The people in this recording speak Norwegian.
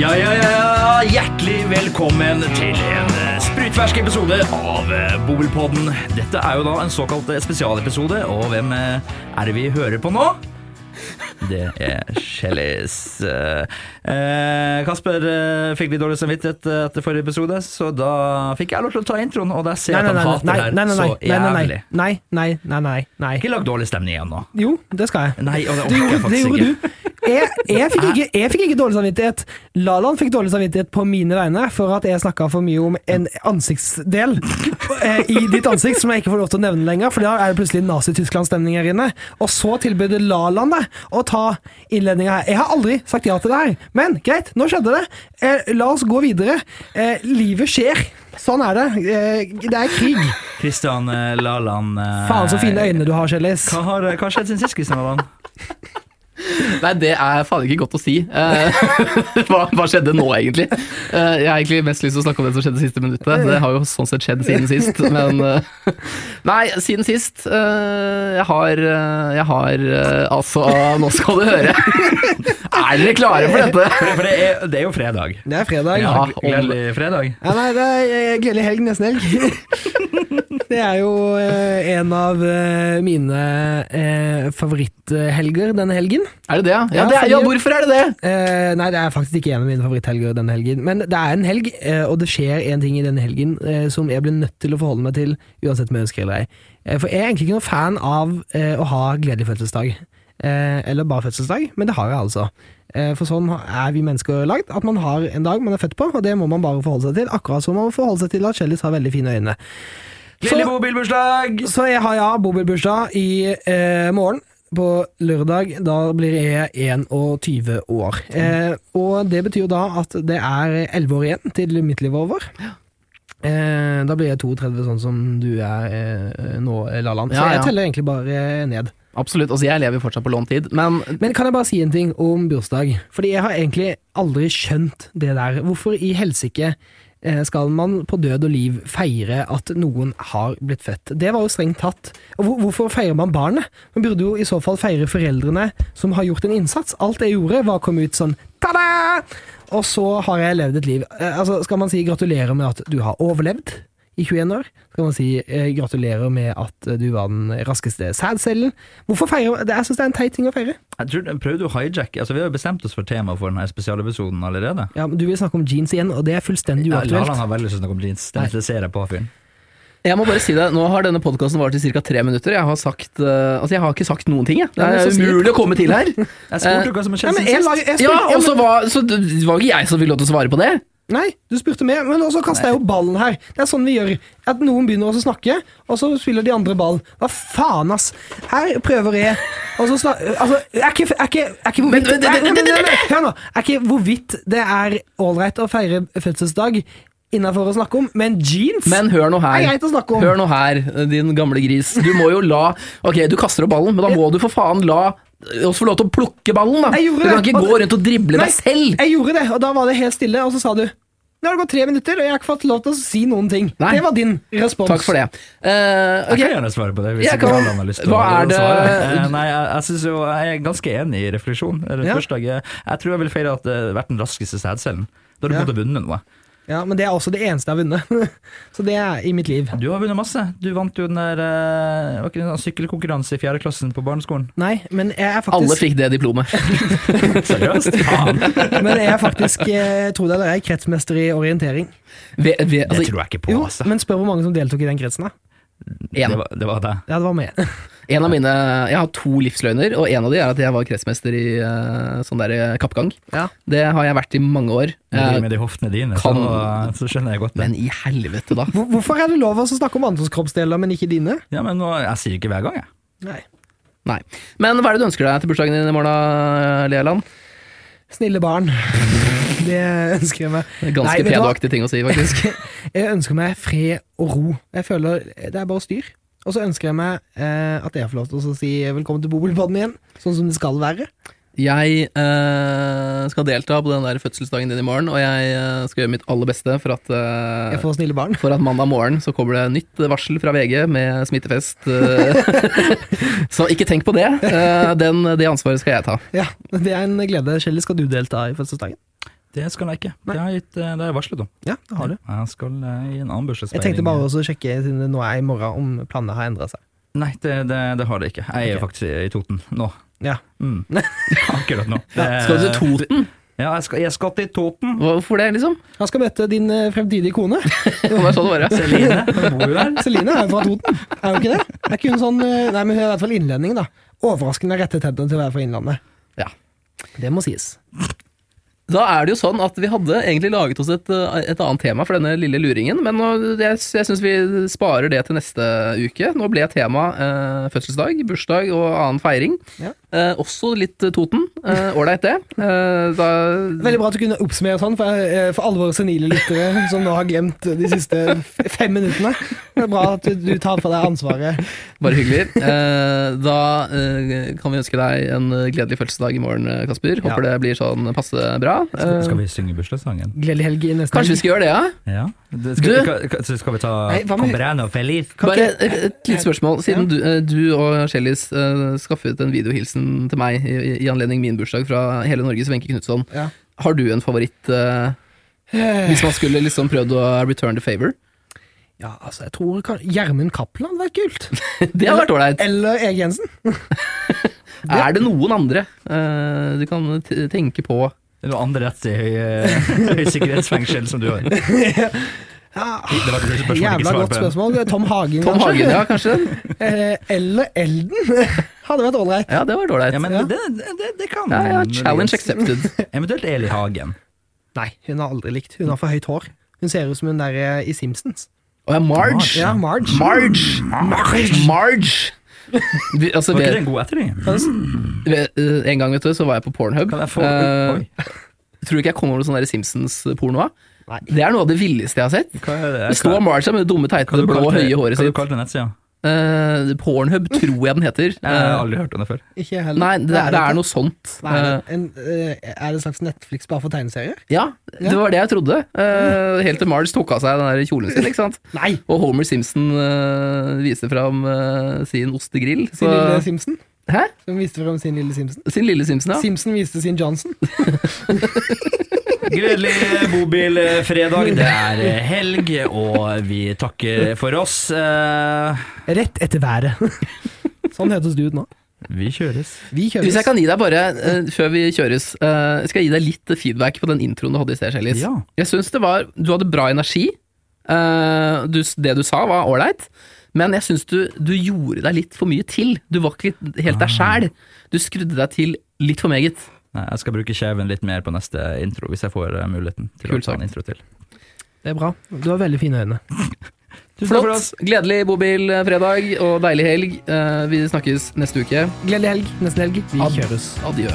Ja, ja, ja, ja. Hjertelig velkommen til en eh, sprutfersk episode av eh, Bobilpodden. Dette er jo da en såkalt eh, spesialepisode, og hvem eh, er det vi hører på nå? Det er Shellis. Eh, Kasper eh, fikk litt dårlig samvittighet eh, etter forrige episode, så da fikk jeg lov til å ta introen, og der ser jeg at Nei, nei, han hater nei, det her nei, så nei, nei, nei, nei, jævlig. nei, nei, nei, nei, nei. Ikke lag dårlig stemning igjen nå. Jo, det skal jeg. Nei, og det orker Det jeg gjorde, det faktisk gjorde ikke. du. Jeg, jeg, fikk ikke, jeg fikk ikke dårlig samvittighet. Lalan fikk dårlig samvittighet på mine vegne for at jeg snakka for mye om en ansiktsdel eh, i ditt ansikt som jeg ikke får lov til å nevne lenger, for da er det plutselig Nazi-Tyskland-stemning her inne. Og så tilbød Lalan deg å ta innledninga her. Jeg har aldri sagt ja til det her, men greit, nå skjedde det. Eh, la oss gå videre. Eh, livet skjer. Sånn er det. Eh, det er krig. Kristian eh, Laland eh, Faen så fine øyne du har, Kjellis. Hva har, hva har skjedd siden sist, Kristian Laland? Nei, det er faen ikke godt å si. Eh, hva, hva skjedde nå, egentlig? Eh, jeg har egentlig mest lyst til å snakke om det som skjedde siste minuttet. Det har jo sånn sett skjedd siden sist, men eh, Nei, siden sist eh, Jeg har, eh, jeg har eh, Altså, nå skal du høre. er dere klare for dette? For, for det, er, det er jo fredag. Det er fredag. Ja, om- Gledelig fredag. Ja, nei, det er eh, gledelig helg, nesten helg. Det er jo eh, en av eh, mine eh, favoritthelger denne helgen. Er det det, ja? Ja, Ja, det er, ja fordi- hvorfor er det det? Eh, nei, det er faktisk ikke en av mine favoritthelger denne helgen, men det er en helg, eh, og det skjer en ting i denne helgen eh, som jeg blir nødt til å forholde meg til, uansett om jeg ønsker eller ei. Eh, for jeg er egentlig ikke noen fan av eh, å ha gledelig fødselsdag, eh, eller bare fødselsdag, men det har jeg altså. Eh, for sånn er vi mennesker lagd, at man har en dag man er født på, og det må man bare forholde seg til, akkurat som man må forholde seg til at Shellis har veldig fine øyne. Lille bobilbursdag! Så jeg har ja, bobilbursdag i eh, morgen. På lørdag. Da blir jeg 21 år. Eh, og det betyr jo da at det er 11 år igjen til mitt liv er over. Eh, da blir jeg 32, sånn som du er eh, nå, Lalan. Så Ja, ja. jeg teller egentlig bare ned. Absolutt. Altså, jeg lever jo fortsatt på lånt tid, men Men kan jeg bare si en ting om bursdag? Fordi jeg har egentlig aldri skjønt det der. Hvorfor i helsike eh, skal man på død og liv feire at noen har blitt født? Det var jo strengt tatt. Og hvor- hvorfor feirer man barnet? Man burde jo i så fall feire foreldrene som har gjort en innsats. Alt jeg gjorde var å komme ut sånn ta-da! Og så har jeg levd et liv. Eh, altså, skal man si gratulerer med at du har overlevd? I 21 år skal man si eh, gratulerer med at eh, du var den raskeste sædcellen. Hvorfor feire? Det- Jeg syns det er en teit ting å feire. Jeg tror, prøvde å hijacke altså, Vi har jo bestemt oss for temaet for denne spesialepisoden allerede. Ja, men Du vil snakke om jeans igjen, og det er fullstendig Ja, Laland uaktuelt. har veldig lyst til å snakke om jeans. Nei. Den interesserer jeg på, fyren. jeg må bare si det. Nå har denne podkasten vart i ca. tre minutter. Jeg har sagt eh, Altså, jeg har ikke sagt noen ting, jeg. Det Nei, men er så sier- umulig å komme til her. Jeg spurte jo hva som har Nei, skjedd men siden jeg sist. lager, jeg spurte, Eh, Ja, ja, og så men- var, så det var ikke jeg som fikk lov til å svare på det. Nei, du spurte meg, men også kaster jeg jo ballen her. Det er sånn vi gjør. At noen begynner også å snakke, og så spiller de andre ballen. Hva faen, ass! Her prøver jeg Og så snak- Altså, er ikke, er ikke, er ikke hvorvidt Men- men- Nei, nei, nei, nei, nei, Hør nå. Er ikke hvorvidt det er ålreit å feire fødselsdag innafor å snakke om, men jeans Men hør nå er her. greit å snakke om. Hør nå her, din gamle gris. Du må jo la Ok, du kaster opp ballen, men da må du for faen la oss få lov til å plukke ballen, da. Jeg gjorde Du kan det. ikke gå rundt og drible Nei, deg selv. Jeg gjorde det, og da var det helt stille, og så sa du Nå har det gått tre minutter, og jeg har ikke fått lov til å si noen ting. Nei. Det var din respons. Takk for det. Eh, Jeg ok, kan gjerne svare på det. hvis Jeg ikke kan- Laland har lyst til Hva å er det- svare. Eh, Nei, jeg, jeg, synes jo, jeg er ganske enig i refleksjon. Eller Ja. bursdag, eh, Jeg tror jeg vil feire at eh, det har vært den raskeste sædcellen. Da har du Ja. på en måte vunnet noe. Ja, men det er også det eneste jeg har vunnet. Så det er i mitt liv. Du har vunnet masse. Du vant jo den der eh, var ikke det en sånn sykkelkonkurranse i fjerde klassen på barneskolen. Nei, men jeg er alle faktisk, fikk det diplomet. Seriøst? Faen. men jeg er faktisk eh, tro det eller ei, kretsmester i orientering. Ve, ve, Det altså, tror jeg ikke på, Jo, altså. men spør hvor mange som deltok i den kretsen, da. en, Det var, det var det. Ja, det var meg. en av mine Jeg har to livsløgner, og en av de er at jeg var kretsmester i eh, sånn der eh, kappgang. Ja. Det har jeg vært i mange år. Når du Eh, driver med de hoftene dine, kan- så, så skjønner jeg godt det. men i helvete, da. Hvor- Hvorfor er det lov å snakke om andres kroppsdeler, men ikke dine? Ja, men nå, Jeg sier ikke hver gang, jeg. Nei. Nei. Men hva er det du ønsker deg til bursdagen din i morgen, da, Leland? Snille barn. Det ønsker jeg meg. Nei, Ganske vet du hva? pedoaktig ting å si, faktisk. Jeg ønsker meg fred og ro. Jeg føler Det er bare styr. Og så ønsker jeg meg eh, at jeg får lov til å si velkommen til Bobilpodden igjen, sånn som det skal være. Jeg eh, skal delta på den der fødselsdagen din i morgen, og jeg eh, skal gjøre mitt aller beste for at, eh, Jeg får snille barn. for at mandag morgen så kommer det nytt varsel fra VG med smittefest. eh. så ikke tenk på det. Eh, den, det ansvaret skal jeg ta. Ja, Det er en glede. Kjell, skal du delta i fødselsdagen? Det skal jeg ikke. Det har jeg, gitt, eh, det har jeg varslet om. Ja, det har du. Jeg skal eh, i en annen bursdagsfeiring. Jeg tenkte bare også å sjekke siden det nå er i morgen, om planene har endra seg. Nei, det, det, det har det ikke. Jeg er Ok. faktisk i Toten nå. Ja. Mm. Akkurat nå. Eh, Eh, Skal du til Toten? Ja, jeg skal, jeg skal til Toten. Hvorfor det, liksom? Han skal møte din eh, fremtidige kone. Det var sånn det var, ja. Celine, hun bor jo der. Celine er jo fra Toten, er hun ikke det? Er ikke hun sånn eh, Nei, men hun er i hvert fall innlending, da. Overraskende rette tennene til å være fra Innlandet. ja. Det må sies. Da er det jo sånn at vi hadde egentlig laget oss et, eh, et annet tema for denne lille luringen, men nå- jeg, jeg syns vi sparer det til neste uke. Nå ble tema eh, fødselsdag, bursdag og annen feiring. Ja. Eh, også litt eh, Toten. Eh, Ålreit, det. Eh, da Veldig bra at du kunne oppsummere sånn for, eh, for alvor senile lyttere som nå har glemt de siste f- fem minuttene. Det er bra at du, du tar på deg ansvaret. bare hyggelig. Eh, da eh, kan vi ønske deg en eh, gledelig fødselsdag i morgen, eh, Kasper. Håper det blir sånn passe bra. Skal, Eh, skal vi synge bursdagssangen? Gledelig helg i neste kanskje vi skal gjøre det, ja? Ja. Det, Du- skal, ka- ka- så skal vi ta Nei, hva med- Comprano feliz? Bare et, et lite spørsmål. Siden du, eh, du og Shellis eh, skaffet en videohilsen til meg i, i- i anledning min bursdag fra hele Norges Wenche Knutson, Ja. har du en favoritt eh, hvis man skulle liksom prøvd å return the favor? Ja, altså, jeg tror kan- Gjermund Kaplan hadde vært kult. Det hadde vært ålreit. Eller Erik Jensen. Er det noen andre eh, du kan t tenke på? Eller noe andre rett i høy- høysikkerhetsfengsel som du har. Det var et spørsmål, ikke Jævla svar godt på. spørsmål. Tom Hagen, Tom kanskje? Hagen, ja, kanskje? den? Eh, Eller Elden. Hadde vært ålreit. Ja, det hadde vært Ja, ålreit. men Ja. det, det, det, det kan Ja, ja, challenge accepted. Eventuelt Eli Hagen. Nei, hun har aldri likt. Hun har for høyt hår. Hun ser ut som hun der eh, i Simpsons. Å ja, Marge. Ja, Marge. Marge. Marge. Vi, altså, Var ikke det ved, en god etterligning? ved, eh, en gang vet du, så var jeg på Pornhub. Kan jeg få Eh, Oi, Tror du ikke jeg kom over noe sånn der Simpsons-porno av? Nei. Det er noe av det villeste jeg har sett. hva er det? Det står Marcia med det dumme, teite, blå, høye Hva har du håret sitt. kalt den nettsida? Eh, Pornhub, tror jeg den heter. Jeg har Eh, aldri hørt om det før. Ikke jeg heller. nei, det, Hva er- det dette? er noe sånt. Hva er Eh, det? En, eh, er det en slags Netflix bare for tegneserier? ja, det Ja. var det jeg trodde. Eh, helt til Marge tok av seg den der kjolen sin, ikke sant. Nei! Og Homer Simpson eh, viste fram eh, sin ostegrill. Sin lille Så, Simpson. hæ? Som viste frem sin lille Simpson. Sin lille Simpson, ja. Simpson viste sin Johnson. Gledelig bobilfredag. Det er eh, helg, og vi takker for oss. Eh, Rett etter været. sånn høres det ut nå. Vi kjøres. Vi kjører. Hvis jeg kan gi deg bare, eh, før vi kjøres, eh, skal jeg gi deg litt feedback på den introen du hadde i sted, Shellis. Ja. Jeg syns det var Du hadde bra energi. Eh, du, det du sa var ålreit, men jeg syns du, du gjorde deg litt for mye til. Du var ikke litt- helt Ah. deg sjæl. Du skrudde deg til litt for meget. Nei, Jeg skal bruke kjeven litt mer på neste intro, hvis jeg får eh, muligheten til Kult å ta sagt. en intro til. Det er bra. Du har veldig fine øyne. Tusen takk for oss. Flott. Gledelig bobilfredag og deilig helg. Eh, vi snakkes neste uke. Gledelig helg. Nesten helg. Vi Ad- kjøres. Adjø.